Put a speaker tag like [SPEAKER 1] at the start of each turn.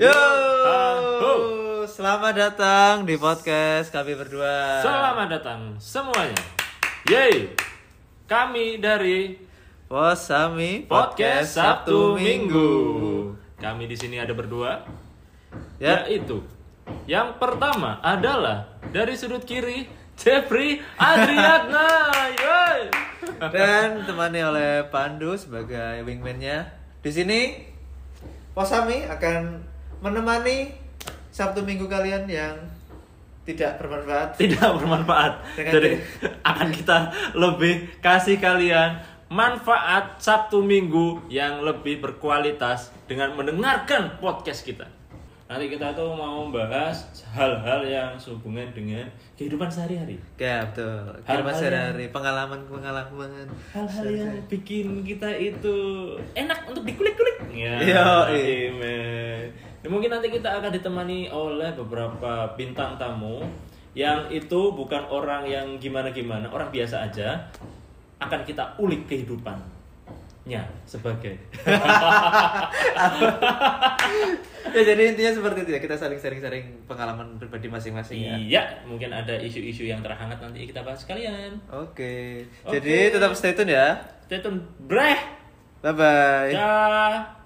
[SPEAKER 1] Yo,
[SPEAKER 2] ho.
[SPEAKER 1] selamat datang di podcast kami berdua.
[SPEAKER 2] Selamat datang semuanya. Yeay. Kami dari
[SPEAKER 1] Posami
[SPEAKER 2] podcast Sabtu Minggu. Kami di sini ada berdua.
[SPEAKER 1] Ya.
[SPEAKER 2] Yaitu yang pertama adalah dari sudut kiri Jeffrey Adriatna. Yeay.
[SPEAKER 1] Dan temani oleh Pandu sebagai wingman-nya. Di sini Posami akan menemani Sabtu Minggu kalian yang tidak bermanfaat.
[SPEAKER 2] Tidak bermanfaat.
[SPEAKER 1] Dengan
[SPEAKER 2] Jadi
[SPEAKER 1] diri.
[SPEAKER 2] akan kita lebih kasih kalian manfaat Sabtu Minggu yang lebih berkualitas dengan mendengarkan podcast kita. Nanti kita tuh mau membahas hal-hal yang sehubungan dengan kehidupan sehari-hari.
[SPEAKER 1] Ya, betul.
[SPEAKER 2] Hal-hal
[SPEAKER 1] Kira-kira
[SPEAKER 2] yang-
[SPEAKER 1] dari pengalaman-pengalaman.
[SPEAKER 2] Hal-hal yang bikin kita itu enak untuk dikulik-kulik. Ya,
[SPEAKER 1] Iya, iya.
[SPEAKER 2] iya, men. Ya, Mungkin nanti kita akan ditemani oleh beberapa bintang tamu yang itu bukan orang yang gimana-gimana, orang biasa aja. Akan kita ulik kehidupannya sebagai
[SPEAKER 1] ya jadi intinya seperti itu ya kita saling sharing-sharing pengalaman pribadi masing-masing ya.
[SPEAKER 2] Iya, mungkin ada isu-isu yang terhangat nanti kita bahas sekalian.
[SPEAKER 1] Oke.
[SPEAKER 2] Oke.
[SPEAKER 1] Jadi tetap stay tune ya.
[SPEAKER 2] Tetun breh.
[SPEAKER 1] Bye bye.
[SPEAKER 2] Dah.